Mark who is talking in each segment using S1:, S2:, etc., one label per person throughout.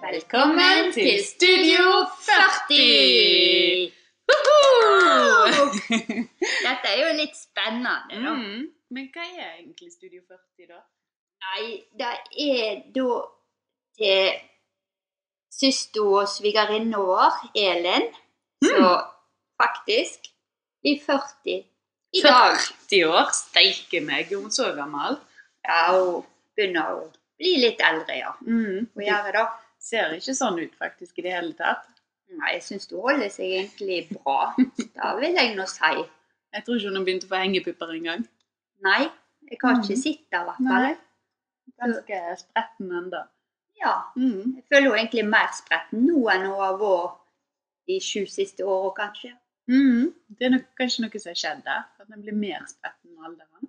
S1: Velkommen til Studio 40!
S2: Woho!
S1: Dette er jo litt spennende, da.
S2: Mm. Men hva er egentlig Studio 40, da?
S1: Nei, det er da til søster og svigerinne vår, Elin. Så faktisk i 40 i dag.
S2: 40 år? Steike meg, er hun så gammel?
S1: Ja, hun begynner å bli litt eldre, ja.
S2: Mm.
S1: Hun gjør det, da.
S2: Ser ikke sånn ut faktisk i det hele tatt.
S1: Mm. Nei, jeg syns hun holder seg egentlig bra. Det vil jeg nå si.
S2: Jeg tror ikke hun har begynt å få hengepupper engang.
S1: Nei, jeg kan
S2: Mhm.
S1: ikke sitte, i hvert fall.
S2: Ganske spretten ennå.
S1: Ja.
S2: Mm.
S1: Jeg føler jo egentlig mer spretten nå enn hun har vært de sju siste åra, kanskje.
S2: Mm. Det er nok, kanskje noe som har skjedd der. At den blir mer spretten med alderen.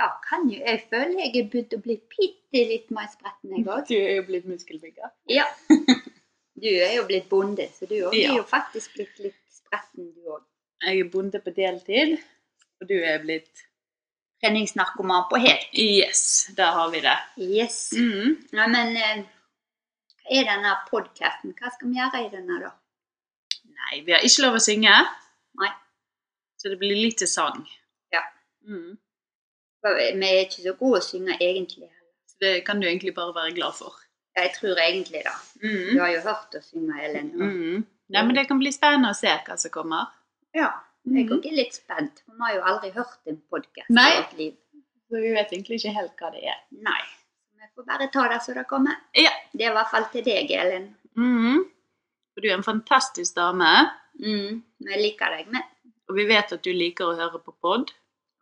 S1: Ja, kan jo. Jeg føler jeg er begynt å bli bitte litt mer spretten, jeg òg.
S2: Du er jo blitt muskelbygger.
S1: Ja. Du er jo blitt bonde, så du òg
S2: Ja.
S1: er jo faktisk blitt litt spretten, du òg.
S2: Jeg er bonde på deltid, og du er blitt
S1: Treningsnarkoman på helt.
S2: Yes, der har vi det.
S1: Yes.
S2: Mm.
S1: Nei, men eh, hva er denne podkasten? Hva skal vi gjøre i denne, da?
S2: Nei, vi har ikke lov å synge.
S1: Nei.
S2: Så det blir lite sang.
S1: Ja.
S2: Mm.
S1: For Vi er ikke så gode å synge egentlig. heller.
S2: Så det kan du egentlig bare være glad for.
S1: Ja, Jeg tror egentlig det. Du
S2: Mm.
S1: har jo hørt oss synge, Ellen. og-
S2: Mm. Nei, men det kan bli spennende å se hva som kommer.
S1: Ja. Jeg
S2: Mhm.
S1: òg er litt spent. for Vi har jo aldri hørt en podkast
S2: Nei.
S1: i vårt liv.
S2: Så vi vet egentlig ikke helt hva det er.
S1: Nei. Vi får bare ta det som det kommer.
S2: Ja.
S1: Det er i hvert fall til deg, Elin.
S2: Mm. For du er en fantastisk dame,
S1: Mm. Vi liker deg, men
S2: og vi vet at du liker å høre på pod.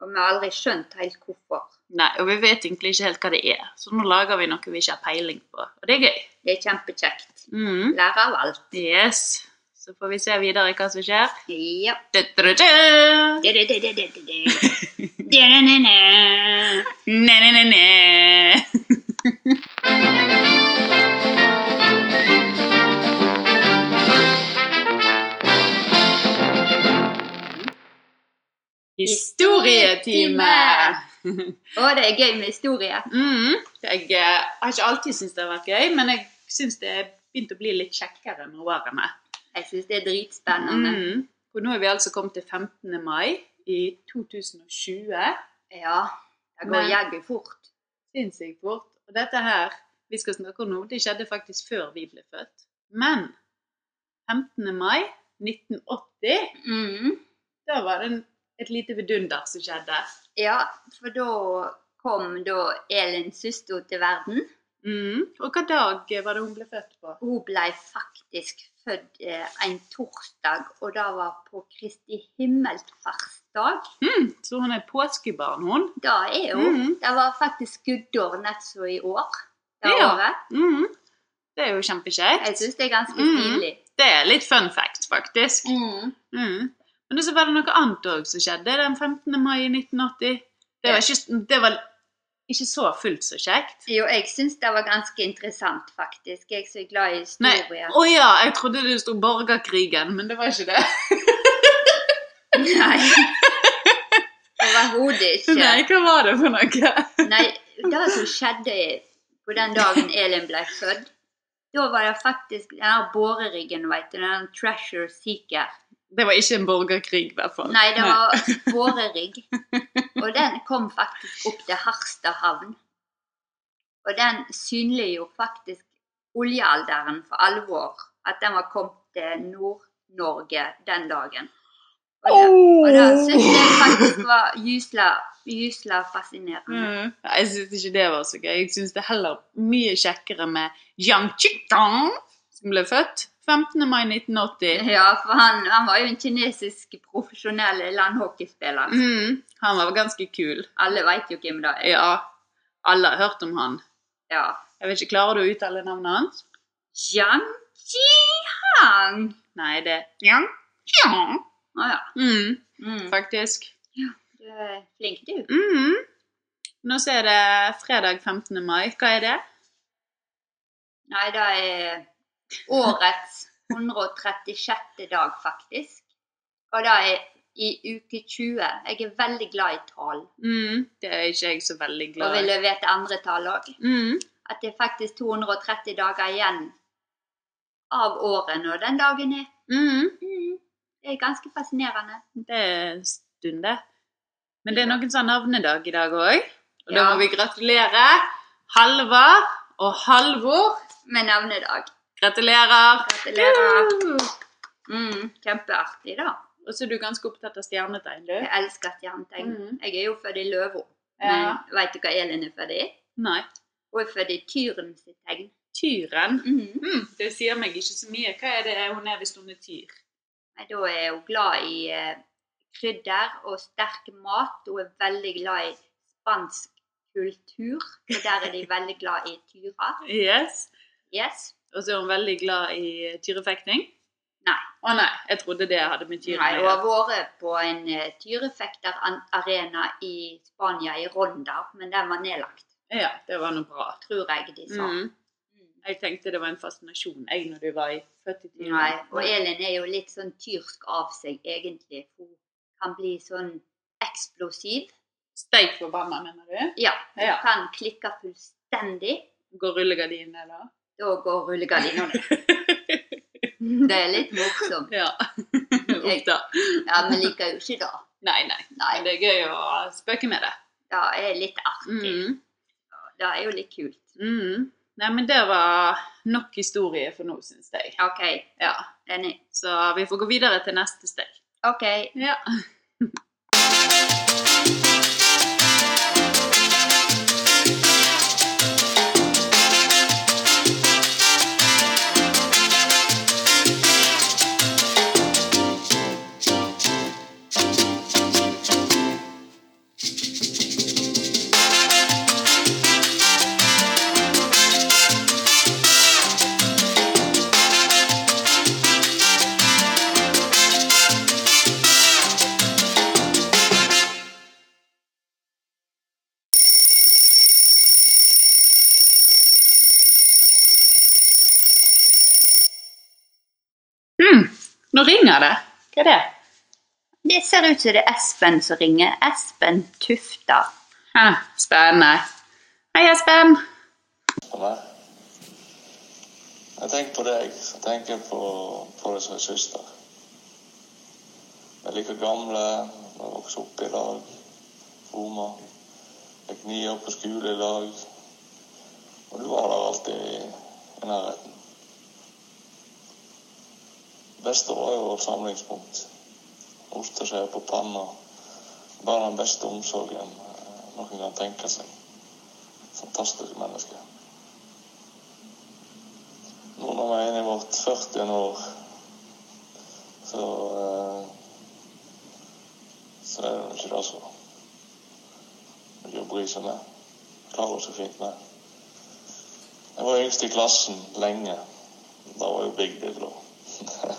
S1: og vi har aldri skjønt helt hvorfor.
S2: Nei, og vi vet egentlig ikke helt hva det er. Så nå lager vi noe vi ikke har peiling på, og det er gøy.
S1: Det er kjempekjekt.
S2: Mm.
S1: Lære av alt.
S2: Yes. Så får vi se videre hva som skjer.
S1: Ja.
S2: Du-du-du-du!
S1: Du-du-du-du-du-du. Du-du-du-du.
S2: Ne-ne-ne-ne! Historietime!
S1: Å, det er gøy med historie.
S2: Mm, jeg eh, har ikke alltid syntes det har vært gøy, men jeg syns det er begynt å bli litt kjekkere med årene.
S1: Jeg syns det er dritspennende.
S2: Mm. Og nå er vi altså kommet til 15. mai i 2020.
S1: Ja. Det
S2: Men-
S1: går jaggu fort.
S2: sinnssykt fort. Og dette her vi skal snakke om nå, det skjedde faktisk før vi ble født. Men 15. mai 1980,
S1: Mm.
S2: da var det en, et lite vidunder som skjedde.
S1: Ja, for da kom da Elin søster til verden.
S2: Mm. Og hva dag var det hun ble født på?
S1: Hun ble faktisk født eh, en torsdag, og det var på Kristi himmelfartsdag.
S2: Mm. Så hun er påskebarn, hun.
S1: Det er hun.
S2: Mm.
S1: Det var faktisk skuddår nett som i år. Det
S2: Ja.
S1: året.
S2: Mm. Det er jo
S1: Jeg
S2: kjempekjekt.
S1: syns det er ganske
S2: Mm.
S1: stilig.
S2: Det er litt fun fact, faktisk.
S1: Mm.
S2: Mm. Men så var det noe annet òg som skjedde den 15. mai 1980. Det var ikke, det var ikke så fullt så kjekt.
S1: Jo, jeg syns det var ganske interessant, faktisk. Jeg er så glad i
S2: Nei,
S1: historie.
S2: Å ja, jeg trodde det sto borgerkrigen, men det var ikke det.
S1: Nei. Overhodet ikke.
S2: Nei, hva var det for noe?
S1: Nei, det som skjedde på den dagen Elin ble født, da var det faktisk den her boreriggen, vet du, den Treasure Seeker.
S2: Det var ikke en borgerkrig, i hvert fall.
S1: Nei, det var borerigg. Og den kom faktisk opp til Harstad havn. Og den synliggjorde faktisk oljealderen for alvor. At den var kommet til Nord-Norge den dagen. Og det, og det syns jeg faktisk var gysla, gysla fascinerende.
S2: Mm. Jeg syns ikke det var så gøy. Jeg syns det er heller mye kjekkere med Yang Chikang, som ble født 15. mai 1980.
S1: Ja, for han, han var jo en kinesisk profesjonell landhockeyspiller.
S2: Mm. Han var ganske kul.
S1: Alle vet jo hvem det er.
S2: Ja, alle har hørt om han.
S1: Ja.
S2: Jeg vet ikke, Klarer du å uttale navnet hans?
S1: Jiang Jihang.
S2: Nei, det er Yang Chikang.
S1: Å ja.
S2: Mm.
S1: Mm.
S2: Faktisk.
S1: Du er flink, du.
S2: Mhm. Nå så er det fredag 15. mai. Hva er det?
S1: Nei, det er årets 136. dag, faktisk. Og det er i uke 20. Jeg er veldig glad i tall,
S2: Mhm, Det er ikke jeg så veldig
S1: og
S2: glad i.
S1: ville vite andre tall òg.
S2: Mhm,
S1: At det er faktisk 230 dager igjen av året når den dagen er.
S2: Mhm.
S1: Mm. Det er ganske fascinerende.
S2: Det er en stund, det. Men det er noen sånn navnedag i dag òg. Og da
S1: Ja.
S2: må vi gratulere Halvard og Halvor.
S1: Med navnedag.
S2: Gratulerer.
S1: Gratulerer.
S2: Woo!
S1: Mm, kjempeartig, da.
S2: Og så er du ganske opptatt av stjernetegn, du.
S1: Jeg elsker stjernetegn.
S2: Mhm.
S1: Jeg er jo født i Løvo.
S2: Ja.
S1: Men veit du hva Elin er født i?
S2: Nei.
S1: Hun er født i Tyren sitt tegn.
S2: Tyren.
S1: Mhm.
S2: Mm, det sier meg ikke så mye. Hva er det hun er hvis hun er tyr?
S1: Nei, Da er hun glad i eh, krydder og sterk mat. Hun er veldig glad i spansk kultur. Så der er de veldig glad i tyrer.
S2: Yes.
S1: Yes.
S2: Og så er hun veldig glad i tyrefekting?
S1: Nei.
S2: Å nei, jeg trodde det hadde med tyren
S1: Nei,
S2: å
S1: hun
S2: gjøre.
S1: har vært på en eh, tyrefekterarena i Spania, i Ronda, men den var nedlagt,
S2: Ja, det var noe bra.
S1: tror jeg de sa.
S2: Mm.
S1: Mm.
S2: Jeg tenkte det var en fascinasjon, jeg, når du var i 40
S1: Nei, og Elin er jo litt sånn tyrsk av seg, egentlig. Hun kan bli sånn eksplosiv.
S2: Steik forbanna, mener du?
S1: Ja, hun
S2: Ja.
S1: kan klikke fullstendig.
S2: Går rullegardinen, eller?
S1: Da går rullegardinene. Det er litt morsomt.
S2: ja. Uff da.
S1: Ja, men liker jo ikke det.
S2: Nei, nei.
S1: Nei.
S2: Men det er gøy å spøke med det.
S1: Ja, det er litt artig.
S2: Mm.
S1: Det er jo litt kult.
S2: Mm. Nei, men det var nok historie for nå, syns jeg.
S1: OK,
S2: Ja.
S1: enig.
S2: Så vi får gå videre til neste steg.
S1: OK.
S2: Ja. Mm. Nå ringer det. Hva er det?
S1: Det ser ut som det er Espen som ringer. Espen Tufta.
S2: Hæ, spennende. Hei, Espen.
S3: For meg. Jeg tenker på deg, så tenker jeg på, på deg som en søster. Vi er like gamle, vi har vokst opp i lag, Roma. Gikk ni år på skole i lag. Og du var der alltid i, i nærheten. Det beste var jo vårt samlingspunkt. Osteskjeer på panna. Bare den beste omsorgen eh, noen kan tenke seg. Fantastisk menneske. Nå når vi er inne i vårt 40. år, så eh, Så er det jo ikke det som mye å bry seg med. Klarer oss så fint med. Jeg var yngst i klassen lenge. Da var jo big deal, da.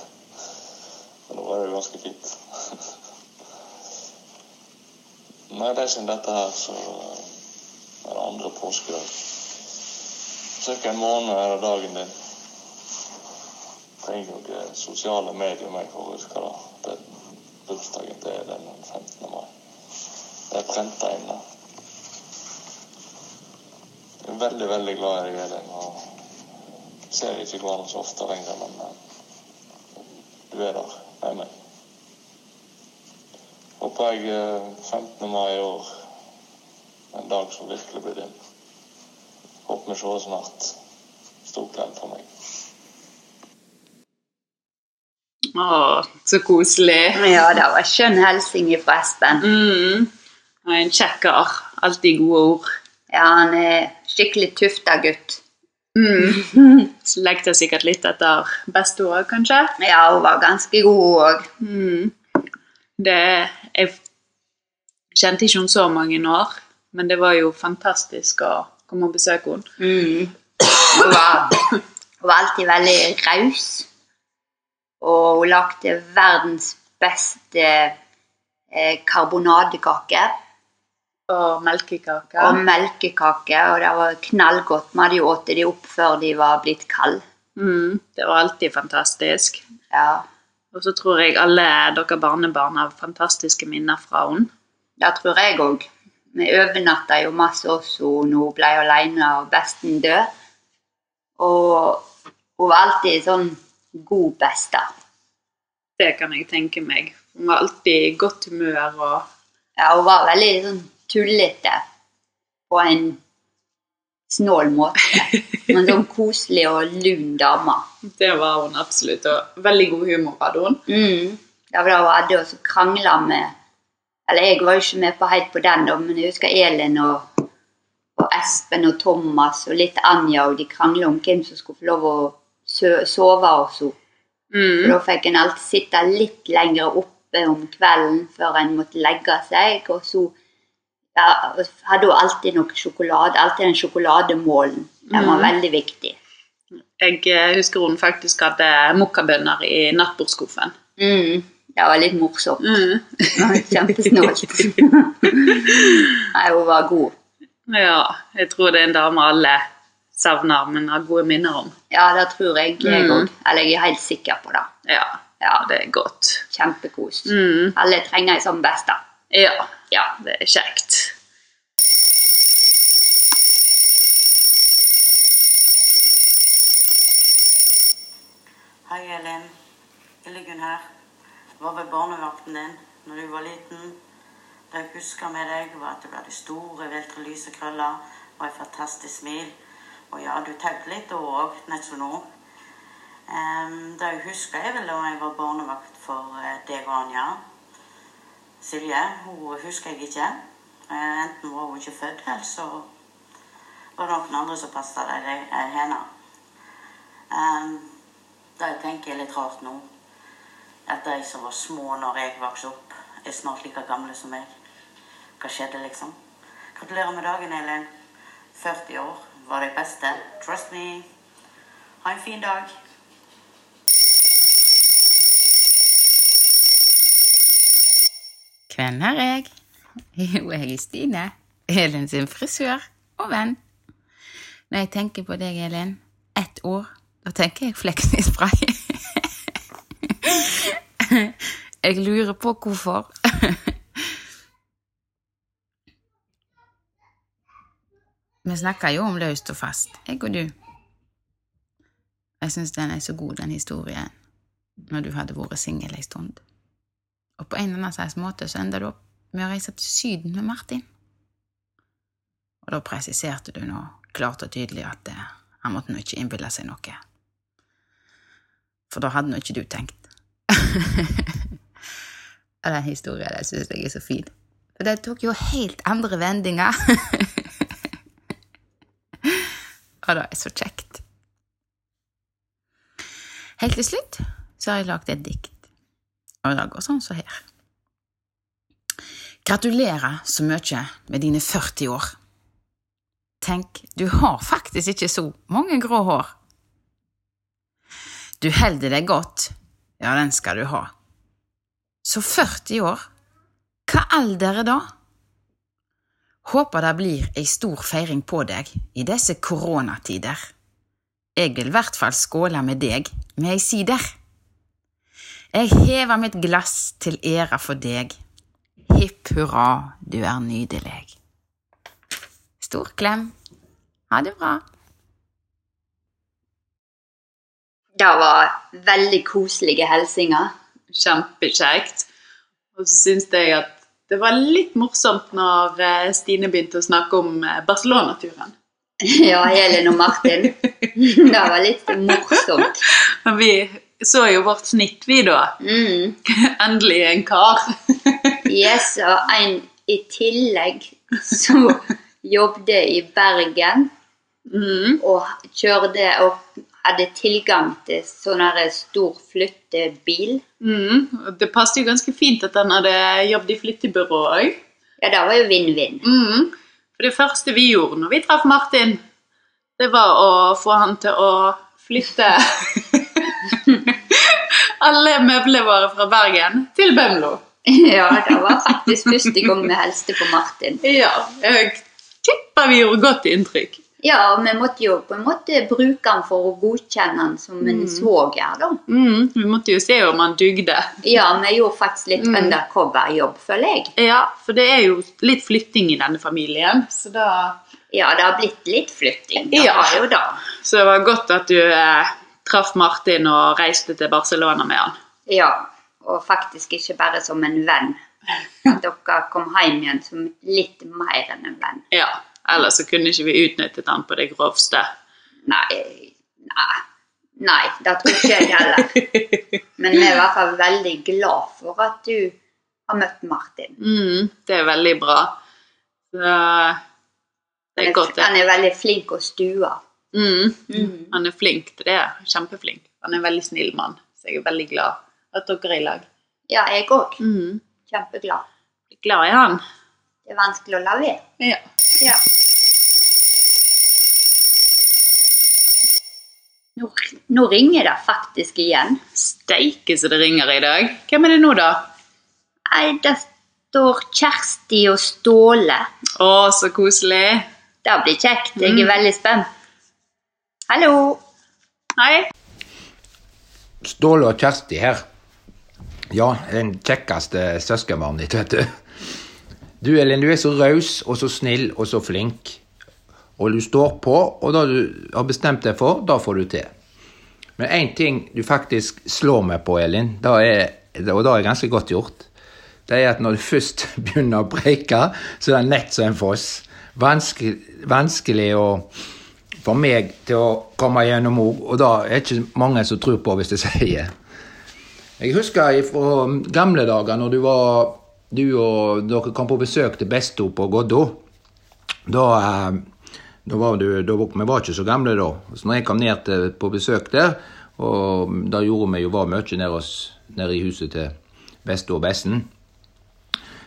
S3: Men da var det jo ganske fint. Nei, det er siden dette her, så eh, er det andre påskedag. Cirka en måned er det dagen din. Trenger jo ikke sosiale eh, medier meg for å huske det. det bursdagen til er den 15. mai. Det er prenta inne. Jeg er veldig, veldig glad i deg, Elin. Og ser ikke hverandre så ofte lenger, men eh, du er der med meg. Håper jeg eh, 15. mai i år er en dag som virkelig blir din. Håper vi ses snart. Stor klem fra meg.
S2: Å, så koselig.
S1: Ja, det var skjønn hilsing fra Espen.
S2: Mm. Og en kjekker. Alltid gode ord.
S1: Ja, han er skikkelig Tufta-gutt.
S2: Mm. Slekter sikkert litt etter beste år, kanskje.
S1: Ja, hun var ganske god òg.
S2: Mm. Det Jeg kjente ikke henne så mange år, men det var jo fantastisk å komme og besøke henne.
S1: Mm. Hun, var, hun var alltid veldig raus. Og hun lagde verdens beste eh, karbonadekake
S2: Og melkekake.
S1: og melkekake. Og det var knallgodt. Vi hadde jo spist de opp før de var blitt kalde.
S2: Mm. Det var alltid fantastisk.
S1: Ja,
S2: Og så tror jeg alle dere barnebarn har fantastiske minner fra henne.
S1: det tror jeg òg. Vi overnatta jo masse hos henne når hun ble alene og besten død. Og Hun var alltid sånn god besta.
S2: Det kan jeg tenke meg. Hun var alltid i godt humør og
S1: Ja, hun var veldig sånn tullete på en snål måte. Men sånn koselig og lun dame.
S2: Det var hun absolutt. Og veldig god humor hadde hun.
S1: Mm. Det var da hun hadde oss og krangla med Eller jeg var jo ikke med på helt på den, da, men jeg husker Elin og, og Espen og Thomas og litt Anja, og de krangla om hvem som skulle få lov å sø- sove hos henne. For
S2: Mm.
S1: Da fikk en alltid sitte litt lenger oppe om kvelden før en måtte legge seg. Og så ja, hadde hun alltid noe sjokolade, alltid den sjokolademålen. Den var
S2: Mhm.
S1: veldig viktig.
S2: Jeg eh, husker hun faktisk hadde mokkabønner i nattbordskuffen.
S1: Mm. Det var litt morsomt.
S2: Mm.
S1: Kjempesnålt. Nei, hun var god.
S2: Ja, jeg tror det er en dame alle savner, men har gode minner om.
S1: Ja, det tror jeg jeg
S2: Mm.
S1: òg. Eller jeg er helt sikker på det.
S2: Ja,
S1: Ja,
S2: det er godt.
S1: Kjempekos.
S2: Mm.
S1: Alle trenger ei sånn beste.
S2: Ja,
S1: Ja.
S2: det er kjekt.
S4: Hei, Elin. Illegunn her. Var ved barnevakten din når du var liten. Det jeg husker med deg, var at du hadde store, viltre lyse krøller og et fantastisk smil. Og ja, du taute litt da òg, nett som nå. Ehm, det jeg husker, er vel da jeg var barnevakt for eh, deg og Anja. Silje, hun husker jeg ikke. Eh, enten var hun ikke født, eller så var det noen andre som passet deg, deg- eh, henne. Ehm, det tenker jeg litt rart nå. At de som var små når jeg vokste opp, er snart like gamle som meg. Hva skjedde, liksom? Gratulerer med dagen, Elin. 40 år var de beste. Trust me. Ha en fin dag.
S5: Hvem er jeg? Jo, jeg er Stine, Elin sin frisør og venn. Når jeg tenker på deg, Elin, ett år, da tenker jeg fleksispray. Jeg lurer på hvorfor. Vi snakker jo om løst og fast, jeg og du. Jeg syns den er så god, den historien, når du hadde vært singel ei stund. Og på en eller annen slags måte så enda du opp med å reise til Syden med Martin. Og da presiserte du nå klart og tydelig at eh, han måtte nå ikke innbille seg noe. For da hadde nå ikke du tenkt. Og Den historien der syns jeg er så fin. For den tok jo helt andre vendinger. Og det er så kjekt. Helt til slutt så har jeg lagd et dikt. Og det går sånn som så her. Gratulerer så mye med dine 40 år. Tenk, du har faktisk ikke så mange grå hår. Du holder deg godt. Ja, den skal du ha. Så 40 år, hva alder er da? Håper det blir ei stor feiring på deg i disse koronatider. Jeg vil i hvert fall skåle med deg med ei sider. Jeg hever mitt glass til ære for deg. Hipp hurra, du er nydelig. Stor klem. Ha det bra.
S1: Det var veldig koselige hilsener.
S2: Kjempekjekt. Og så syns jeg at det var litt morsomt når eh, Stine begynte å snakke om eh, Barcelona-turen.
S1: Ja, Elin og Martin. Det var litt morsomt.
S2: Og Vi så jo vårt snitt, vi da.
S1: Mm.
S2: Endelig en kar.
S1: Yes, og en i tillegg som jobbet i Bergen
S2: Mm.
S1: og kjørte og hadde tilgang til sånn her stor flyttebil.
S2: Mm. Og Det passet jo ganske fint at han hadde jobbet i flyttebyrå òg.
S1: Ja, det var jo vinn-vinn.
S2: Mm. For det første vi gjorde når vi traff Martin, det var å få han til å flytte alle møblene våre fra Bergen til Bømlo.
S1: Ja, det var faktisk første gang vi hilste på Martin.
S2: Ja, jeg tipper vi gjorde godt inntrykk.
S1: Ja, og vi måtte jo på en måte bruke han for å godkjenne han som en svoger, da.
S2: Mm, vi måtte jo se om han dugde.
S1: Ja, vi gjorde faktisk litt
S2: Mm.
S1: undercover-jobb, føler jeg.
S2: Ja, for det er jo litt flytting i denne familien, så da
S1: Ja, det har blitt litt flytting. Det
S2: Ja.
S1: har jo det.
S2: Så det var godt at du eh, traff Martin og reiste til Barcelona med han.
S1: Ja, og faktisk ikke bare som en venn. At dere kom hjem igjen som litt mer enn en venn.
S2: Ja, Ellers så kunne ikke vi utnyttet han på det grovste.
S1: Nei, nei, nei det tror ikke jeg heller. Men vi er i hvert fall veldig glad for at du har møtt Martin.
S2: Mm, det er veldig bra. Så, det er godt, det.
S1: Han er veldig flink å stue.
S2: Mm. Han er flink til det. Kjempeflink. Han er en veldig snill mann, så jeg er veldig glad at dere er i lag.
S1: Ja, jeg òg.
S2: Mm.
S1: Kjempeglad.
S2: Glad i han.
S1: Det er vanskelig å la være.
S2: Ja.
S1: Ja. Nå, nå ringer det faktisk igjen.
S2: Steike så det ringer i dag. Hvem er det nå, da?
S1: Nei, det står Kjersti og Ståle.
S2: Å, så koselig. Mm.
S1: Det blir kjekt. Jeg er veldig spent. Hallo.
S2: Hei.
S6: Ståle og Kjersti her. Ja, den kjekkeste søskenbarnet ditt, vet du. Du Elin, du er så raus og så snill og så flink. Og du står på, og det du har bestemt deg for, det får du til. Men én ting du faktisk slår meg på, Elin, det er, og det er ganske godt gjort, det er at når du først begynner å preike, så er det nett som en foss. Vanskelig, vanskelig å for meg til å komme gjennom òg, og det er ikke mange som tror på hvis jeg sier. Jeg husker fra gamle dager når du, var, du og dere kom på besøk til Besto på Goddo. Da, eh, da var du da, var- Vi var ikke så gamle da. Så når jeg kom ned til, på besøk der, og da gjorde vi jo var mye nede, hos, nede i huset til Besto og Bessen,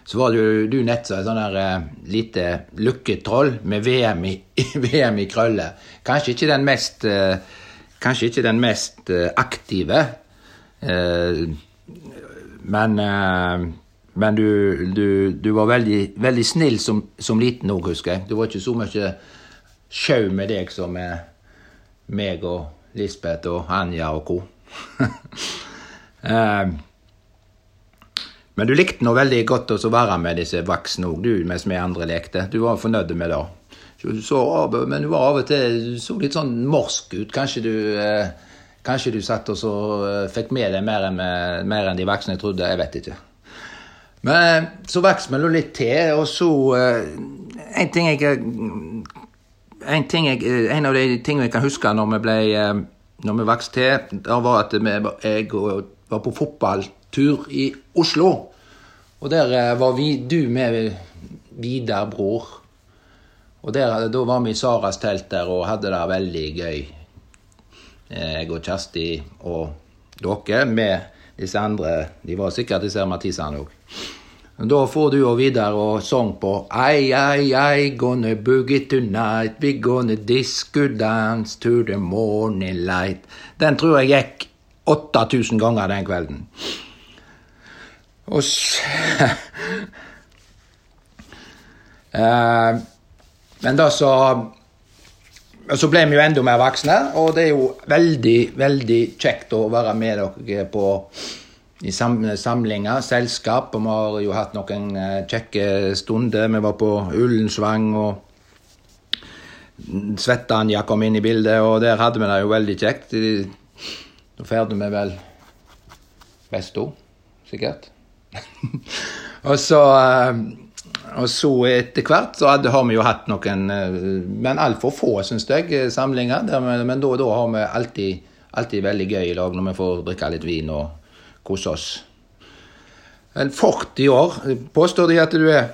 S6: så var du, du nett som et sånn der eh, lite lukketroll med VM i, VM i krølle. Kanskje ikke den mest, eh, kanskje ikke den mest eh, aktive, eh, men, eh, men du, du, du var veldig, veldig snill som, som liten òg, husker jeg. Det var ikke så mye sjau med deg som med meg og Lisbeth og Anja og co. eh, men du likte nå veldig godt også å være med disse voksne òg, du, mens vi andre lekte. Du var fornøyd med det. Så Du så av, men du var av og til du så litt sånn morsk ut. Kanskje du, eh, kanskje du satt og så eh, fikk med deg mer enn, eh, mer enn de voksne trodde. Jeg vet ikke. Men så vokste vi nå litt til, og så eh, En ting jeg en, ting jeg, eh, en av de tingene jeg kan huske når vi ble eh, når vi vokste til, da var at vi, jeg og- var på fotballtur i Oslo. Og der eh, var vi, du med Vidar, bror. Og der, eh, da var vi i Saras telt der og hadde det veldig gøy. Eh, Jeg og Kjersti og dere med disse andre. De var sikkert disse her Mathisene òg. Da får du og Vidar og sang på I, I, I gonna boogie tonight We gonna disco dance to the morning light Den tror jeg gikk 8000 ganger den kvelden. Og s- Eh, Men da så og så ble vi jo enda mer voksne, og det er jo veldig, veldig kjekt å være med dere på i sam samlinger, selskap. Og vi har jo hatt noen eh, kjekke stunder. Vi var på Ullensvang, og Svettanja kom inn i bildet, og der hadde vi det jo veldig kjekt. I- Da ferdet vi vel Vesto, sikkert. og så eh, og så etter hvert så hadde, har vi jo hatt noen, eh, men altfor få, syns jeg, eh, samlinger. Der, vi- men da og da har vi alltid, alltid veldig gøy i lag når vi får drikke litt vin og kose oss. Vel, 40 år påstår de at du er.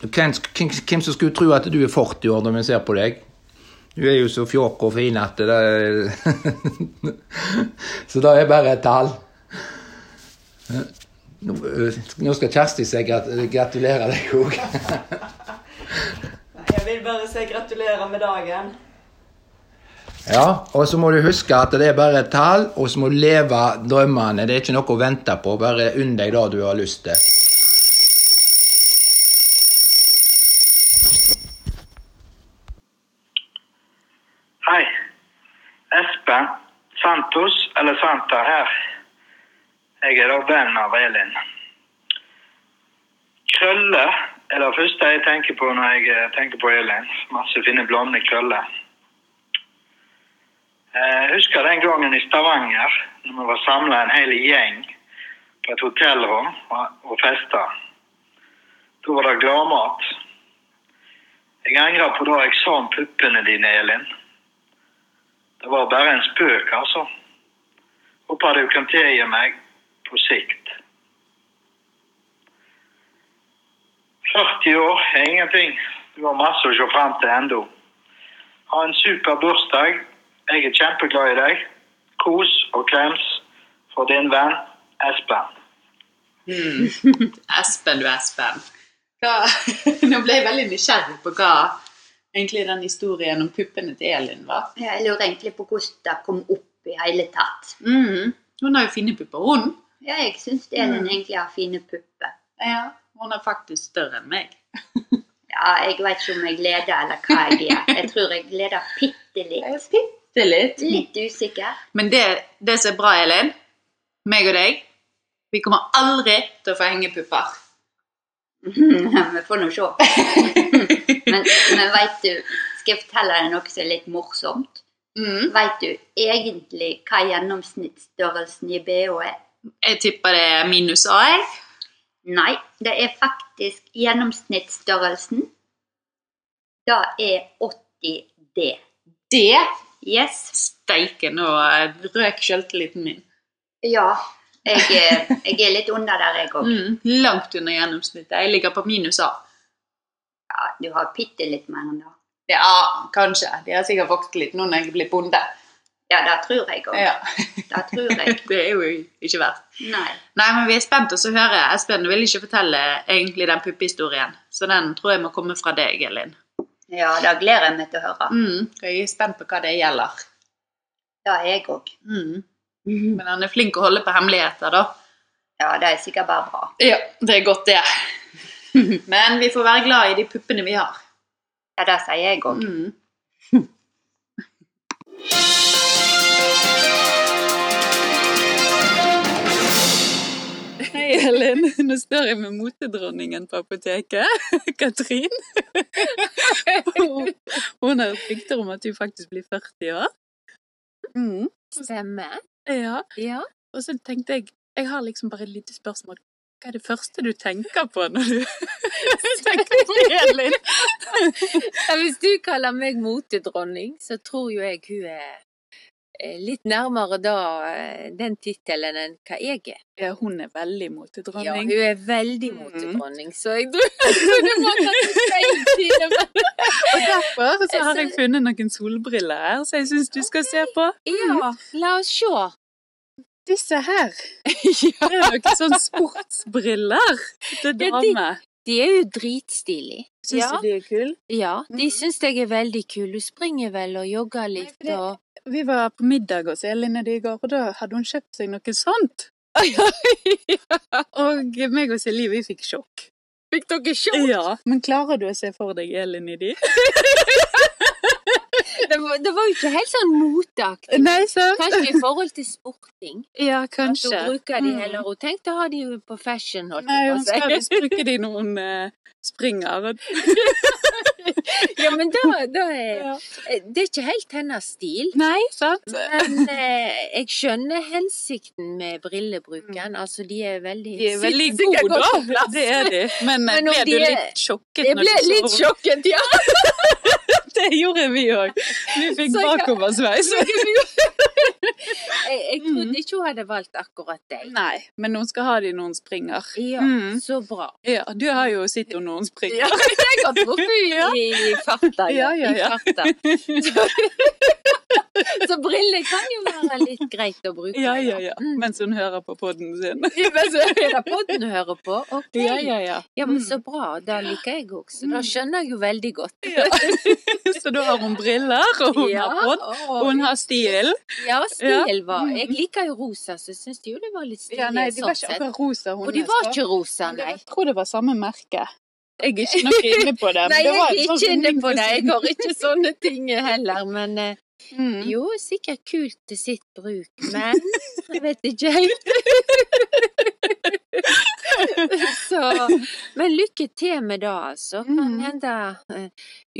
S6: Hvem, hvem, hvem som skulle tro at du er 40 år når vi ser på deg? Du er jo så fjåk og fin at det er Så det er bare et tall. Nå, øh, nå skal Kjersti si grat gratulerer deg òg.
S7: Jeg vil bare si gratulerer med dagen.
S6: Ja, og så må du huske at det er bare et tall, og så må du leve drømmene. Det er ikke noe å vente på. Bare unn deg det du har lyst til.
S8: Hei. Espen Santos, eller Santa, her. Jeg er da venn av Elin. Krølle er det første jeg tenker på når jeg eh, tenker på Elin. Masse fine, blonde krøller. Eh, Jeg husker den gangen i Stavanger, når vi var samla en hel gjeng på et hotellrom og- og festa. Da var det gladmat. Jeg angrer på da jeg sa om puppene dine, Elin. Det var bare en spøk, altså. Håper du kan tilgi meg på sikt. 40 år er ingenting. Du har masse å se fram til ennå. Ha en super bursdag. Jeg er kjempeglad i deg. Kos og klems fra din venn Espen.
S2: Espen, du Espen. Hva, nå ble jeg veldig nysgjerrig på hva egentlig den historien om puppene til Elin var.
S1: Ja, Jeg lurer egentlig på hvordan det kom opp i hele tatt. Mm.
S2: Mhm. Hun har jo fine pupper, hun.
S1: Ja, jeg syns Elin
S2: Mm.
S1: egentlig har fine pupper.
S2: Ja, hun er faktisk større enn meg.
S1: Ja, jeg vet ikke om jeg leder eller hva jeg gjør. Jeg tror jeg leder bitte litt.
S2: Bitte litt.
S1: Litt usikker.
S2: Men det, det som er bra, Elin, meg og deg, vi kommer aldri til å få hengepupper.
S1: Mhm, Vi får nå se. Men, men veit du Skal jeg fortelle deg noe som er litt morsomt?
S2: Mhm.
S1: Veit du egentlig hva gjennomsnittsstørrelsen i BH er?
S2: Jeg tipper det er minus A, jeg.
S1: Nei, det er faktisk gjennomsnittsstørrelsen. Det er 80D.
S2: Det
S1: Yes.
S2: Steike, nå eh, røk selvtilliten min.
S1: Ja. Jeg, er- jeg er litt under der, jeg òg.
S2: Mm, langt under gjennomsnittet. Jeg ligger på minus A.
S1: Ja, du har bitte litt mer enn det.
S2: Ja, kanskje. De har sikkert vokst litt nå når jeg blir bonde.
S1: Ja, det tror jeg òg.
S2: Ja.
S1: Det tror jeg.
S2: Det er jo ikke verst.
S1: Nei.
S2: Nei, men vi er spent oss å høre. Espen du vil ikke fortelle egentlig den puppehistorien, så den tror jeg må komme fra deg, Elin.
S1: Ja, det gleder jeg meg til å høre.
S2: Mm, jeg er spent på hva det gjelder.
S1: Det er jeg òg.
S2: Mm. Men han er flink å holde på hemmeligheter, da.
S1: Mhm. Ja, det er sikkert bare bra.
S2: Ja, det er godt, det. Men vi får være glad i de puppene vi har.
S1: Ja, det sier jeg òg.
S2: Mm.
S9: Hei, Elin. Nå står jeg med motedronningen på apoteket, Katrin. Hun- Hun har rykter om at du faktisk blir 40 år.
S2: Mm.
S10: Stemmer.
S9: Ja.
S10: Ja.
S9: Og så tenkte jeg Jeg har liksom bare et lite spørsmål. Hva er det første du tenker på når du tenker på Elin?
S10: Ja, Hvis du kaller meg motedronning, så tror jo jeg hun er eh, litt nærmere da eh, den tittelen enn hva jeg er.
S9: Ja, hun er veldig
S10: Ja,
S9: motedronning.
S10: hun er veldig
S9: Mhm.
S10: motedronning, så jeg tror det var kanskje feil tid. men-
S9: Og derfor så har jeg funnet noen solbriller her som jeg syns du skal se på. Mm.
S10: Ja, la oss se.
S9: Disse her. Det er noen sånne sportsbriller til
S10: Ja, de-
S9: dame.
S10: De er jo dritstilige.
S9: Syns
S10: Ja.
S9: du de er kule?
S10: Ja, de
S9: Mhm.
S10: syns jeg er veldig kul. Hun springer vel og jogger litt
S9: for det-
S10: og
S9: Vi var på middag hos Elin og de i går, og da hadde hun kjøpt seg noe sånt. Og meg og Silje, vi fikk sjokk.
S10: Fikk dere sjokk?
S9: Ja, Men klarer du å se for deg Elin i de?
S10: Det var, det var jo ikke helt sånn moteaktig.
S9: Nei, sant?
S10: Kanskje i forhold til sporting.
S9: Ja,
S10: At hun
S9: kanskje.
S10: bruker de
S9: Mm.
S10: heller. Hun tenkte å ha de på fashion, holdt
S9: Nei, hun
S10: jeg
S9: skal
S10: på å
S9: visst bruke de når hun eh, springer. og-
S10: si. Ja, men da, da er
S9: Ja.
S10: Det er ikke helt hennes stil.
S9: Nei, sant?
S10: Men eh, jeg skjønner hensikten med brillebruken. Altså, de er veldig
S9: De er veldig
S10: sitter sikkert
S9: gode,
S10: godt på
S9: da.
S10: plass.
S9: Det er de. Men, eh,
S10: Men om
S9: ble
S10: de
S9: du
S10: er-
S9: litt sjokket?
S10: Jeg
S9: når
S10: ble
S9: du så
S10: litt
S9: henne?
S10: sjokket, ja.
S9: Det gjorde vi òg. Vi fikk
S10: Så jeg-
S9: bakoversveis. Mm.
S10: Jeg, jeg trodde ikke hun hadde valgt akkurat deg.
S9: Nei, men hun skal ha de når hun springer.
S10: Ja,
S9: Mm.
S10: så bra.
S9: Ja, du har jo sett henne når hun
S10: Ja,
S9: springer.
S10: jeg har truffet
S9: Ja.
S10: i, i farta. Ja,
S9: Ja, ja, ja.
S10: I farta. Så briller kan jo være litt greit å bruke.
S9: Ja, ja, ja.
S10: Mm.
S9: Mens hun hører på podden sin.
S10: Men så er det podden du hører på. Ok.
S9: Ja, ja, ja. Mm.
S10: Ja, men så bra. Da liker jeg òg. Så da skjønner jeg jo veldig godt.
S9: Ja. Så da har hun briller, og hun
S10: Ja,
S9: har podd, og
S10: og-
S9: hun har stil.
S10: Ja, stil var
S9: Mm.
S10: Jeg liker jo rosa, så syns de jo det var litt stilig.
S9: Ja, nei, de var ikke
S10: sånn sett.
S9: akkurat rosa, hun
S10: Og de var ikke rosa,
S9: Men det-
S10: nei.
S9: Jeg tror det var samme merke. Jeg er ikke noe inne på det. men
S10: Nei,
S9: det
S10: jeg
S9: var
S10: er
S9: en
S10: ikke
S9: sånn
S10: inne på det. Jeg
S9: runding.
S10: har ikke sånne ting heller. Men eh,
S9: Mm.
S10: jo, sikkert kult til sitt bruk, men jeg vet ikke helt. Så, men lykke til med det, altså. Kan
S9: Mm.
S10: hende eh,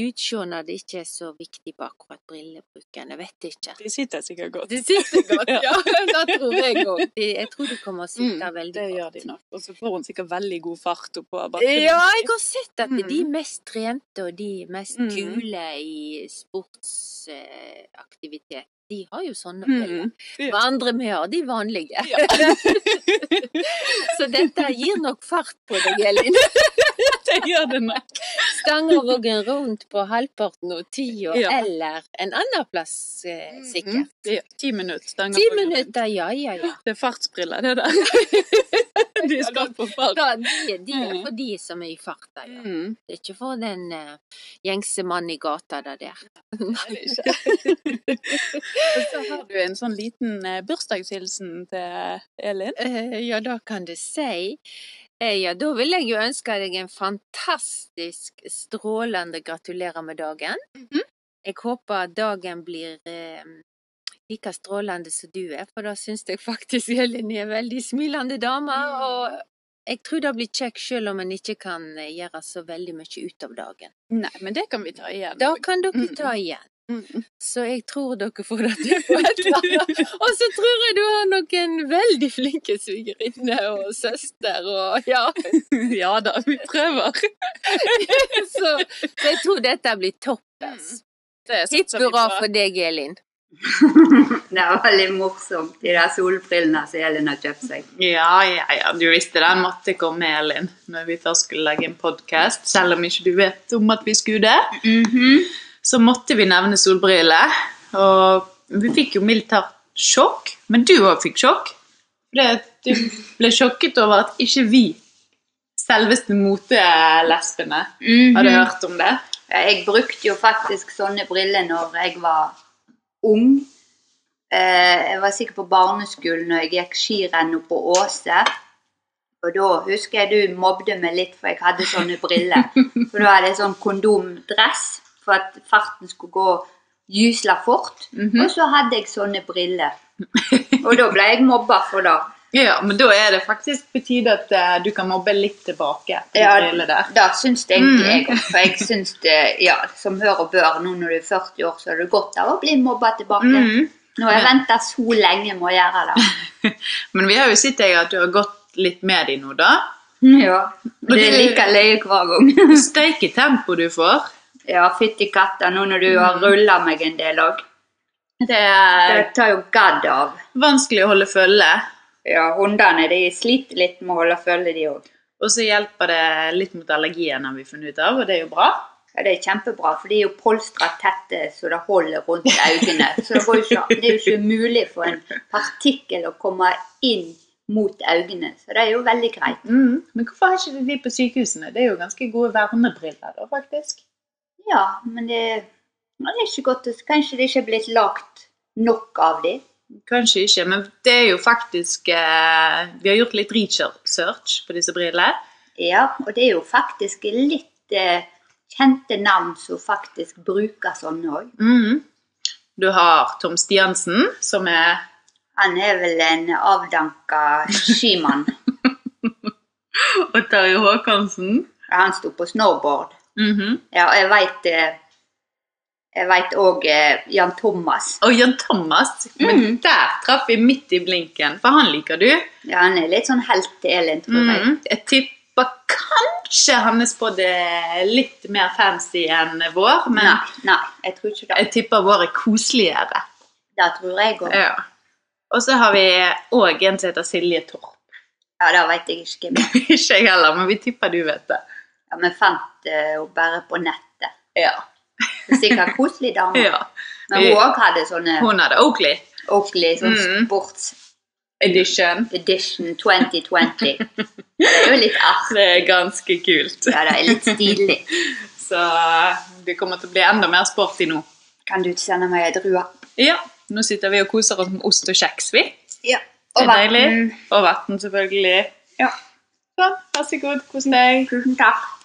S10: utseendet ikke er så viktig på akkurat brillebruken. Jeg vet ikke.
S9: De sitter sikkert godt.
S10: Det sitter godt, ja. Det tror jeg òg. Jeg tror de kommer å sitte
S9: Mm,
S10: veldig
S9: Det
S10: godt.
S9: gjør de nok. Og så får hun sikkert veldig god fart oppå bakken.
S10: Ja, jeg har sett at de
S9: Mm.
S10: mest trente og de mest
S9: Mm.
S10: kule i sportsaktivitet, de har jo sånne briller.
S9: Mm. Ja.
S10: Hva andre vi har, de vanlige.
S9: Ja.
S10: Så dette gir nok fart på deg, Elin.
S9: Det gjør det nok.
S10: Stangervågen rundt på halvparten og tida,
S9: Ja. Mm-hmm.
S10: eller en annen plass, eh, sikkert.
S9: Det gjør ti minutter. Stanger
S10: Ti
S9: på grunn.
S10: minutter, ja, ja, ja.
S9: Det er fartsbriller, det der. De er skapt for fart.
S10: Da, de, de er
S9: Mm.
S10: for de som er i farta, ja.
S9: Mm.
S10: Det er ikke for den eh, gjengse mannen i gata der. der.
S9: Nei, det er ikke. Og så har du en sånn liten eh, bursdagshilsen til Elin.
S10: Eh, ja, det kan du si. Eh, ja, da vil jeg jo ønske deg en fantastisk, strålende gratulerer med dagen.
S9: Mhm.
S10: Jeg håper dagen blir eh, like strålende som du er, for da syns jeg faktisk Elin er en veldig smilende dame.
S9: Mm.
S10: Og jeg tror det blir kjekt selv om en ikke kan eh, gjøre så veldig mye ut av dagen.
S9: Nei, men det kan vi ta igjen.
S10: Da kan dere
S9: Mm.
S10: ta igjen.
S9: Mm.
S10: Så jeg tror dere får det til på et eller annet. Og så tror jeg du har noen veldig flinke svigerinner og søster og ja.
S9: Ja da, vi prøver.
S10: Så, så jeg tror dette blir toppers.
S9: Mm. Det
S10: Hipp
S9: satser vi
S10: hurra
S9: på.
S10: for deg, Elin.
S1: Det var veldig morsomt, de der solbrillene som Elin har kjøpt seg.
S2: Ja, ja, ja. Du visste den måtte komme, Elin, når vi først skulle lage en podkast. Selv om ikke du vet om at vi skulle det,
S1: Mm-hmm.
S2: så måtte vi nevne solbriller. Og vi fikk jo mildt talt sjokk, men du òg fikk sjokk. Fordi at du ble sjokket over at ikke vi, selveste motelesbene, hadde hørt om det.
S1: Mhm. Jeg brukte jo faktisk sånne briller når jeg var ung. Eh, Jeg var sikkert på barneskolen når jeg gikk skirennet på Åse. Og da husker jeg du mobbde meg litt for jeg hadde sånne briller. For da hadde jeg sånn kondomdress for at farten skulle gå gysla fort.
S2: Mhm.
S1: Og så hadde jeg sånne briller. Og da ble jeg mobba for det.
S2: Ja, Men da er det faktisk på tide at eh, du kan mobbe litt tilbake. etter de brillene der.
S1: da
S2: Mm.
S1: syns det egentlig jeg òg. For jeg syns det, ja, som hør og bør, nå når du er 40 år, så er det godt av å bli mobba tilbake.
S2: Mhm.
S1: Nå har jeg venta så lenge med å gjøre det.
S2: Men vi har jo sett deg at du har gått litt med de nå, da. Mm.
S1: Ja, Det er like løye hver gang.
S2: Steike tempo du får. Mm.
S1: Ja, fytti katta, nå når du har rulla meg en del òg.
S2: Det er
S1: Det tar jo gadd av.
S2: vanskelig å holde følge.
S1: Ja, hundene de sliter litt med å holde følge, de òg.
S2: Og så hjelper det litt mot allergien har vi funnet ut av, og det er jo bra.
S1: Ja, det er kjempebra, for de er jo polstra tette så det holder rundt øynene. Så det, går jo ikke, det er jo ikke mulig for en partikkel å komme inn mot øynene. Så det er jo veldig greit.
S2: Mm. Men hvorfor har ikke de de på sykehusene? Det er jo ganske gode vernebriller da, faktisk.
S1: Ja, men det, ja, det er ikke godt. å- Kanskje det ikke er blitt lagt nok av de.
S2: Kanskje ikke, men det er jo faktisk eh, Vi har gjort litt research på disse brillene.
S1: Ja, og det er jo faktisk litt eh, kjente navn som faktisk bruker sånne òg.
S2: Mm. Du har Tom Stiansen, som er
S1: eh, Han er vel en avdanka skimann.
S2: Og Terje Håkonsen.
S1: Han sto på snowboard.
S2: Mhm.
S1: Ja, og jeg veit Jeg veit òg Jan Thomas.
S2: Og Jan Thomas. Men der traff vi midt i blinken, for han liker du.
S1: Mm. Ja, han er litt sånn helt til Elin, tror jeg.
S2: Mm. Jeg tipper kanskje han er spådd eh, litt mer fancy enn vår, men
S1: Nei, nei, jeg tror ikke det.
S2: jeg tipper vår er koseligere.
S1: Det tror jeg òg.
S2: Ja. Og så har vi òg en som heter Silje Torp.
S1: Ja, det veit jeg ikke hvem er.
S2: Ikke jeg heller, men vi tipper du vet det.
S1: Ja, Vi fant eh, henne bare på nettet.
S2: Ja.
S1: Det er Sikkert koselig dame.
S2: ja.
S1: Men hun òg hadde sånne
S2: Eh, Hun hadde Oakley
S1: Oakley sånn
S2: Mm.
S1: sports
S2: edition.
S1: edition 2020. Det er jo litt artig.
S2: Det er ganske kult.
S1: Ja, det er litt stilig.
S2: Så eh, det kommer til å bli enda mer sporty nå.
S1: Kan du ikke sende meg ei drue?
S2: Ja, nå sitter vi og koser oss med ost og kjeks, vi.
S1: Ja.
S2: Det
S1: Og Mm.
S2: er deilig.
S1: vann.
S2: Og vann, selvfølgelig.
S1: Ja.
S2: Sånn, vær så god. Kos deg.
S1: Tusen takk.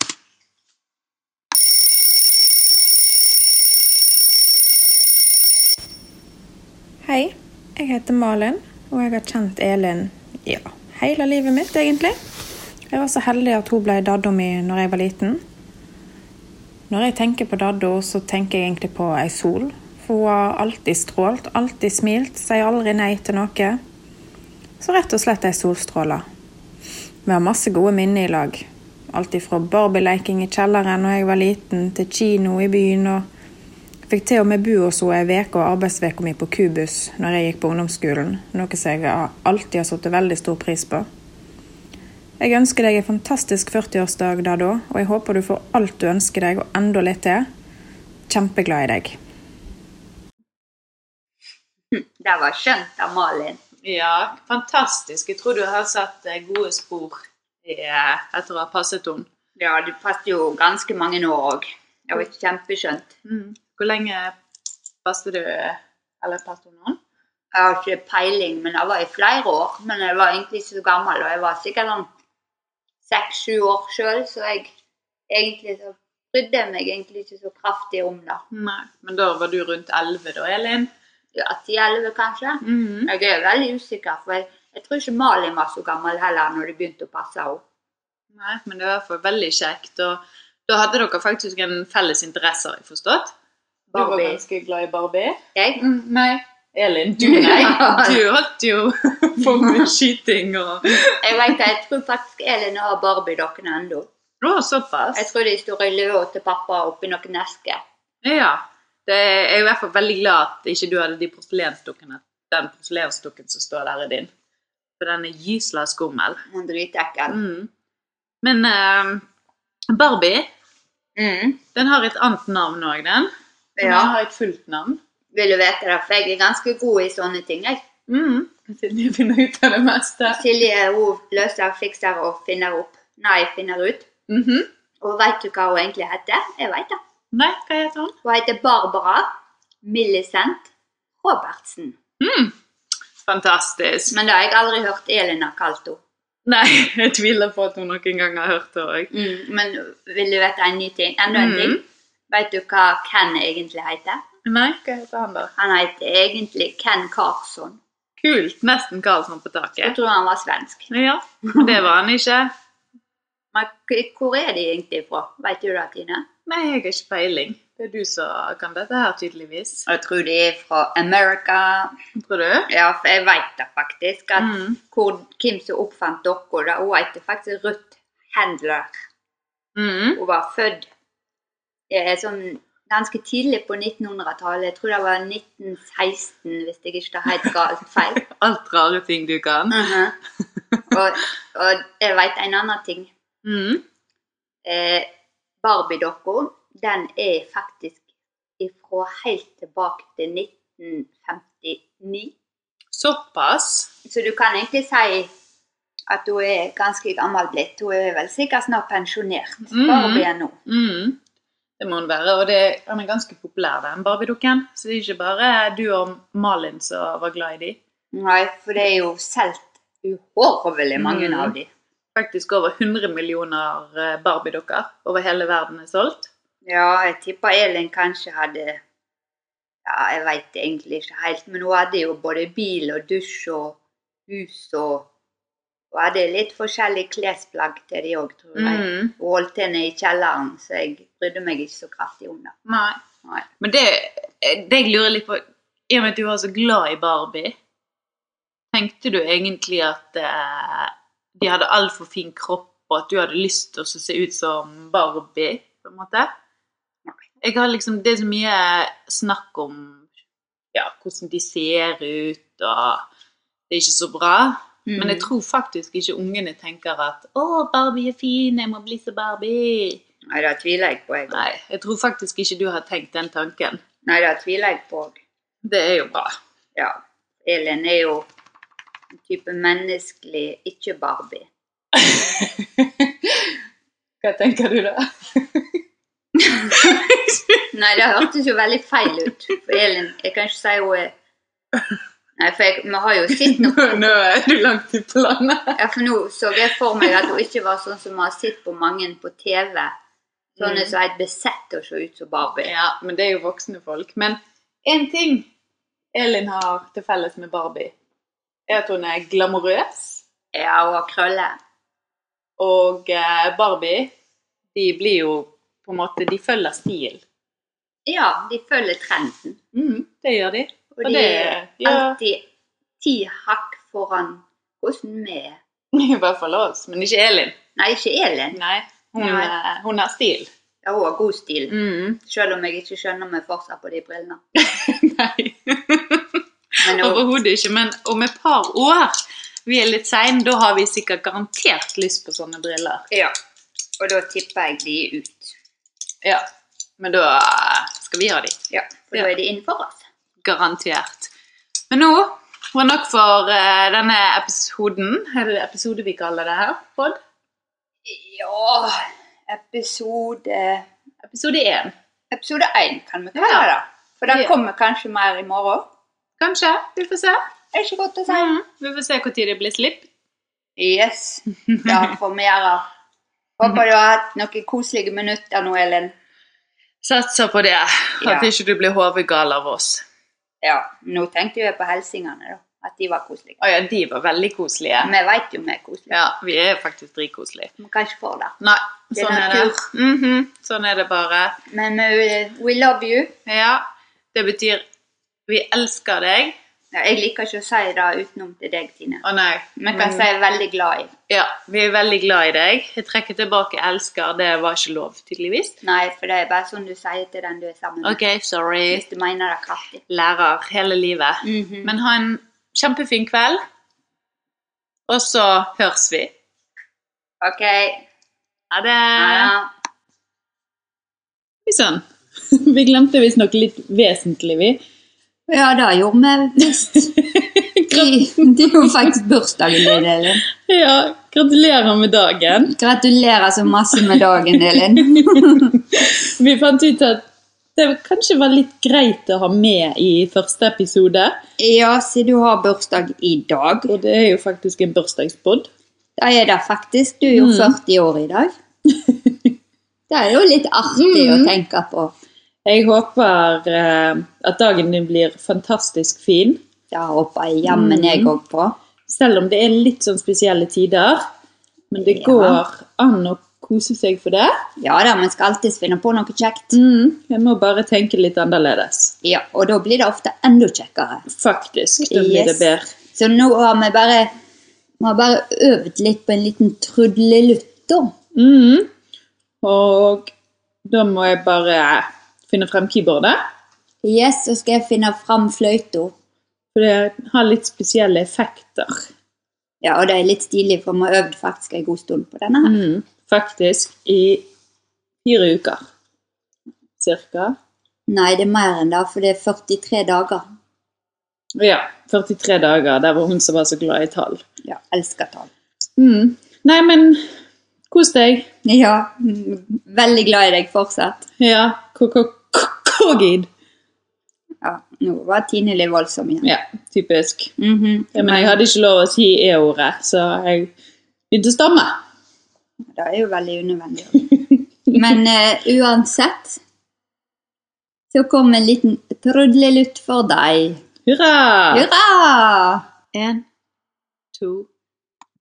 S11: Hei, jeg heter Malin, og jeg har kjent Elin ja, hele livet mitt, egentlig. Jeg var så heldig at hun ble daddo mi når jeg var liten. Når jeg tenker på daddo, så tenker jeg egentlig på ei sol. For hun har alltid strålt, alltid smilt, sier aldri nei til noe. Så rett og slett ei solstråle. Vi har masse gode minner i lag. Alt ifra Barbie-leking i kjelleren da jeg var liten, til kino i byen. og Fikk til og med bo hos henne ei uke og arbeidsveka mi på Kubus når jeg gikk på ungdomsskolen, noe som jeg har- alltid har satt veldig stor pris på. Jeg ønsker deg en fantastisk 40-årsdag da da, og jeg håper du får alt du ønsker deg og enda litt til. Kjempeglad i deg.
S1: Det var skjønt av Malin.
S2: Ja, fantastisk. Jeg tror du har satt eh, gode spor i, eh, etter å ha passet henne.
S1: Ja, du passet jo ganske mange år òg. Det
S2: Mm.
S1: var kjempeskjønt.
S2: Hvor lenge passet du eh, eller passet hun noen?
S1: Jeg har ikke peiling, men jeg var i flere år. Men jeg var egentlig ikke så gammel, og jeg var sikkert sånn seks-sju år sjøl, så jeg egentlig så brydde jeg meg egentlig ikke så kraftig om det.
S2: Nei, men da var du rundt 11 da, Elin?
S1: Ja, 10-11 kanskje.
S2: Mhm.
S1: Jeg er veldig usikker, for jeg, jeg tror ikke Malin var så gammel heller når de begynte å passe henne.
S2: Nei, men det var i hvert fall veldig kjekt. Og da hadde dere faktisk en felles interesse, har jeg forstått? Du var
S1: Barbie.
S2: ganske glad i Barbie?
S1: Jeg?
S2: Mm, nei. Elin, du nei. Du holdt jo på med skyting og
S1: Jeg vet det, jeg tror faktisk Elin har Barbie-dokkene ennå.
S2: Å, såpass?
S1: Jeg tror de står i løa til pappa oppi noen esker.
S2: Ja. Det er, jeg er i hvert fall veldig glad at ikke du hadde de porselensdukkene. Den porselensdukken som står der, er din. For den er gysla skummel.
S1: Han dritekkel.
S2: Mm. Men eh, Barbie, den har et annet navn òg, den. Den
S1: Ja.
S2: Mm. har et fullt navn.
S1: Vil du vite det, for jeg er ganske god i sånne ting. jeg.
S2: Mm. Silje finner ut av det meste.
S1: Silje hun løser, fikser og finner opp. Nei, finner ut.
S2: Mhm.
S1: Og veit du hva hun egentlig heter? Jeg veit det.
S2: Nei, hva heter hun?
S1: Hun heter Barbara Millicent Robertsen.
S2: Fantastisk.
S1: Men det har jeg aldri hørt Elina kalt henne.
S2: Nei, jeg tviler på at hun noen gang har hørt det òg.
S1: Mm, men vil du vite en ny ting? Enda en
S2: Mm.
S1: ting. Veit du hva Ken egentlig heter?
S2: Nei, hva heter han da?
S1: Han heter egentlig Ken Carson.
S2: Kult. Nesten Karlsson på
S1: Jeg
S2: taket.
S1: tror han var svensk.
S2: Ja, men det var han ikke.
S1: Men k- hvor er de egentlig fra? Veit du det, Tine?
S2: Nei, jeg har ikke peiling. Det er du som kan dette her, tydeligvis.
S1: Jeg tror de er fra America.
S2: Tror du?
S1: Ja, for jeg veit det faktisk. At
S2: Mm.
S1: hvor, hvem som oppfant dokka, da, hun heter faktisk Ruth Handler.
S2: Mm.
S1: Hun var født eh, sånn ganske tidlig på 1900-tallet. Jeg tror det var 1916, hvis jeg ikke tar helt galt feil.
S2: Alt rare ting du kan.
S1: Mhm. og, og jeg veit en annen ting.
S2: Mm.
S1: Eh, Barbie-dokka, den er faktisk ifra helt tilbake til 1959.
S2: Såpass.
S1: Så du kan egentlig si at hun er ganske gammel blitt. Hun er vel sikkert snart pensjonert.
S2: Mhm.
S1: Barbie er nå.
S2: Mm. Det må hun være. Og det, han er ganske populær, den Barbie-dukken. Så det er ikke bare du og Malin som var glad i de.
S1: Nei, for det er jo solgt uhorvelig mange
S2: Mhm.
S1: av de.
S2: Faktisk over 100 millioner eh, Barbie-dukker over hele verden er solgt.
S1: Ja, jeg tipper Elin kanskje hadde Ja, jeg veit egentlig ikke helt, men hun hadde jo både bil og dusj og hus og Hun hadde litt forskjellige klesplagg til de òg, tror jeg.
S2: Mhm.
S1: Hun holdt henne i kjelleren, så jeg brydde meg ikke så kraftig om det.
S2: Nei.
S1: Nei.
S2: Men det, eh, det jeg lurer litt på I og med at du var så glad i Barbie, tenkte du egentlig at eh, de hadde altfor fin kropp, og at du hadde lyst til å se ut som Barbie? på en måte? Jeg har liksom, Det er så mye snakk om ja, hvordan de ser ut, og det er ikke så bra. Men jeg
S1: Mhm.
S2: tror faktisk ikke ungene tenker at 'Å, Barbie er fin, jeg må bli som Barbie'.
S1: Nei, det tviler jeg på. Jeg.
S2: Nei, jeg tror faktisk ikke du har tenkt den tanken.
S1: Nei, det tviler jeg på.
S2: Det er jo bra.
S1: Ja. Elin er jo en type menneskelig, ikke Barbie.
S2: Hva tenker du da?
S1: Nei, det hørtes jo veldig feil ut. For Elin Jeg kan ikke si hun er Nei, for jeg, vi har jo sett noe
S2: Nå er du langt i planet.
S1: Ja, for nå så jeg for meg at hun ikke var sånn som vi har sett på mange på TV. Sånne
S2: Mm.
S1: som er besett til å se ut som Barbie.
S2: Ja, men det er jo voksne folk. Men én ting Elin har til felles med Barbie, er at hun er glamorøs.
S1: Ja, hun har krøller.
S2: og eh, Barbie, de blir jo på en måte De følger stil.
S1: Ja, de følger trenden.
S2: det gjør de.
S1: Og
S2: Og
S1: de er
S2: det- ja.
S1: alltid ti hakk foran hvordan vi er.
S2: I hvert fall oss, men ikke Elin.
S1: Nei, ikke Elin.
S2: Nei, Hun,
S1: Nei.
S2: eh, hun har stil. Mm.
S1: Ja, hun har god stil. Selv om jeg ikke skjønner meg fortsatt på de brillene. Nei. Men hun,
S2: Overhodet ikke, men om et par år vi er litt seine, da har vi sikkert garantert lyst på sånne briller.
S1: ja. Og da tipper jeg de ut.
S2: Ja. Men da skal vi ha de.
S1: Ja, for da er de innenfor oss.
S2: Garantert. Men nå var nok for eh, denne episoden. Er det episode vi kaller det her? Pod?
S1: Ja Episode
S2: Episode én.
S1: Episode én kan vi kalle det. For den
S2: Ja.
S1: kommer kanskje mer i morgen.
S2: Kanskje. Vi får se. Mm.
S1: Er ikke godt å si.
S2: Vi får se når det blir slipp.
S1: Yes. Det får vi gjøre. Håper du har hatt noen koselige minutter nå, Elin.
S2: Satser på det.
S1: Ja.
S2: At ikke du blir hodegal av oss.
S1: Ja, nå tenkte jeg på helsingene, da. At de var koselige.
S2: Å ja, de var veldig koselige.
S1: Vi vet jo vi er koselige.
S2: Ja, vi er faktisk dritkoselige.
S1: Vi kan ikke få det.
S2: Nei,
S1: Det er
S2: sånn er det. Mhm, Sånn er det bare.
S1: Men eh, we love you.
S2: Ja, det betyr vi elsker deg.
S1: Ja, jeg liker ikke å si det utenom til deg, Tine.
S2: Å nei.
S1: Vi kan si veldig glad i.
S2: Ja, vi er veldig glad i deg. Jeg trekker tilbake 'elsker', det var ikke lov, tydeligvis.
S1: Nei, for det er bare sånn du sier til den du er sammen med.
S2: OK, sorry.
S1: Hvis du mener det kraftig.
S2: Lærer hele livet.
S1: Mhm.
S2: Men ha en kjempefin kveld, og så høres vi.
S1: OK.
S2: Ha det.
S1: Ja.
S2: Oi sann. Vi glemte visstnok litt vesentlig, vi.
S1: Ja, det gjorde vi visst. I- Det er jo faktisk bursdagen din, Elin.
S2: Ja, gratulerer med dagen.
S1: Gratulerer så altså masse med dagen, Elin.
S2: Vi fant ut at det kanskje var litt greit å ha med i første episode.
S1: Ja, siden du har bursdag i dag.
S2: Og det er jo faktisk en Mm. bursdagspod.
S1: Da er det faktisk. Du er jo 40 år i dag. Det er jo litt artig
S2: Mhm.
S1: å tenke på.
S2: Jeg håper eh, at dagen din blir fantastisk fin. Mm.
S1: Det håper jeg jammen jeg òg på.
S2: Selv om det er litt sånn spesielle tider. Men det
S1: Ja.
S2: går an å kose seg for det.
S1: Ja da, vi skal alltids finne på noe kjekt.
S2: Mm, jeg må bare tenke litt annerledes.
S1: Ja, Og da blir det ofte enda kjekkere.
S2: Faktisk. Da blir det
S1: Yes.
S2: bedre.
S1: Så nå har vi bare, vi har bare øvd litt på en liten trudelutt, da.
S2: Mm. Og da må jeg bare finne frem keyboardet.
S1: Yes, så skal jeg finne fram fløyta.
S2: For det har litt spesielle effekter.
S1: Ja, og det er litt stilig, for vi har øvd faktisk en god stund på denne. her.
S2: Mm, faktisk i fire uker. Cirka.
S1: Nei, det er mer enn det, for det er 43 dager.
S2: Ja, 43 dager. Der var hun som var så glad i tall.
S1: Ja, elsker tall.
S2: Mm. Nei, men kos deg.
S1: Ja, mm, veldig glad i deg fortsatt.
S2: Ja, k-k-k-kogid.
S1: Ja, nå var Tine litt voldsom igjen.
S2: Ja, typisk.
S1: Mhm.
S2: Ja, men jeg hadde ikke lov å si e-ordet, så jeg begynte å stamme.
S1: Det er jo veldig unødvendig. Men eh, uansett så kom en liten trudlelutt for deg.
S2: Hurra!
S1: Hurra!
S2: En, to,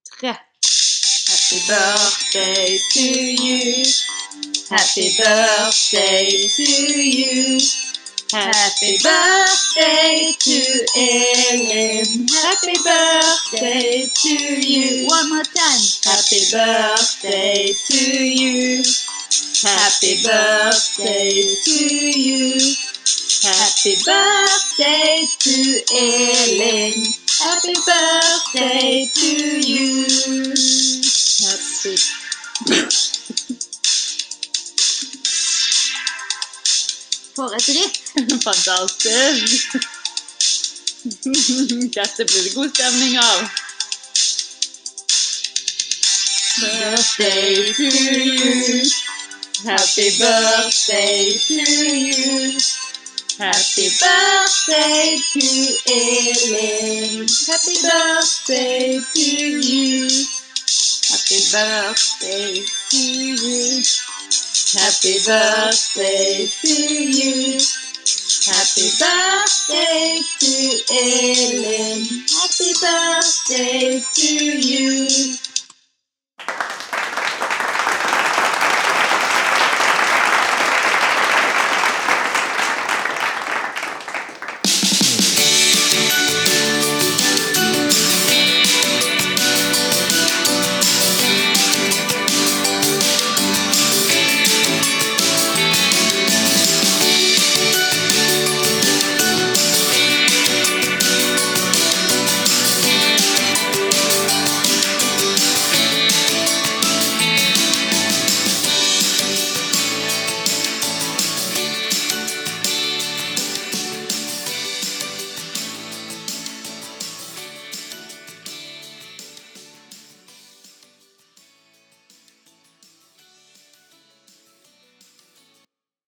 S2: tre. Happy birthday to you.
S1: Happy birthday to you. Happy birthday to Ellen. Happy birthday to you. One more time. Happy birthday to you. Happy birthday to you. Happy birthday to Ellen. Happy birthday to you. Happy For et ritt.
S2: Fantastisk! Dette blir det god stemning av.
S1: birthday to you. Happy birthday to you. Happy birthday to Ellen. Happy birthday to you. Happy birthday to you. Happy birthday to you. Happy birthday to Ellen. Happy birthday to you.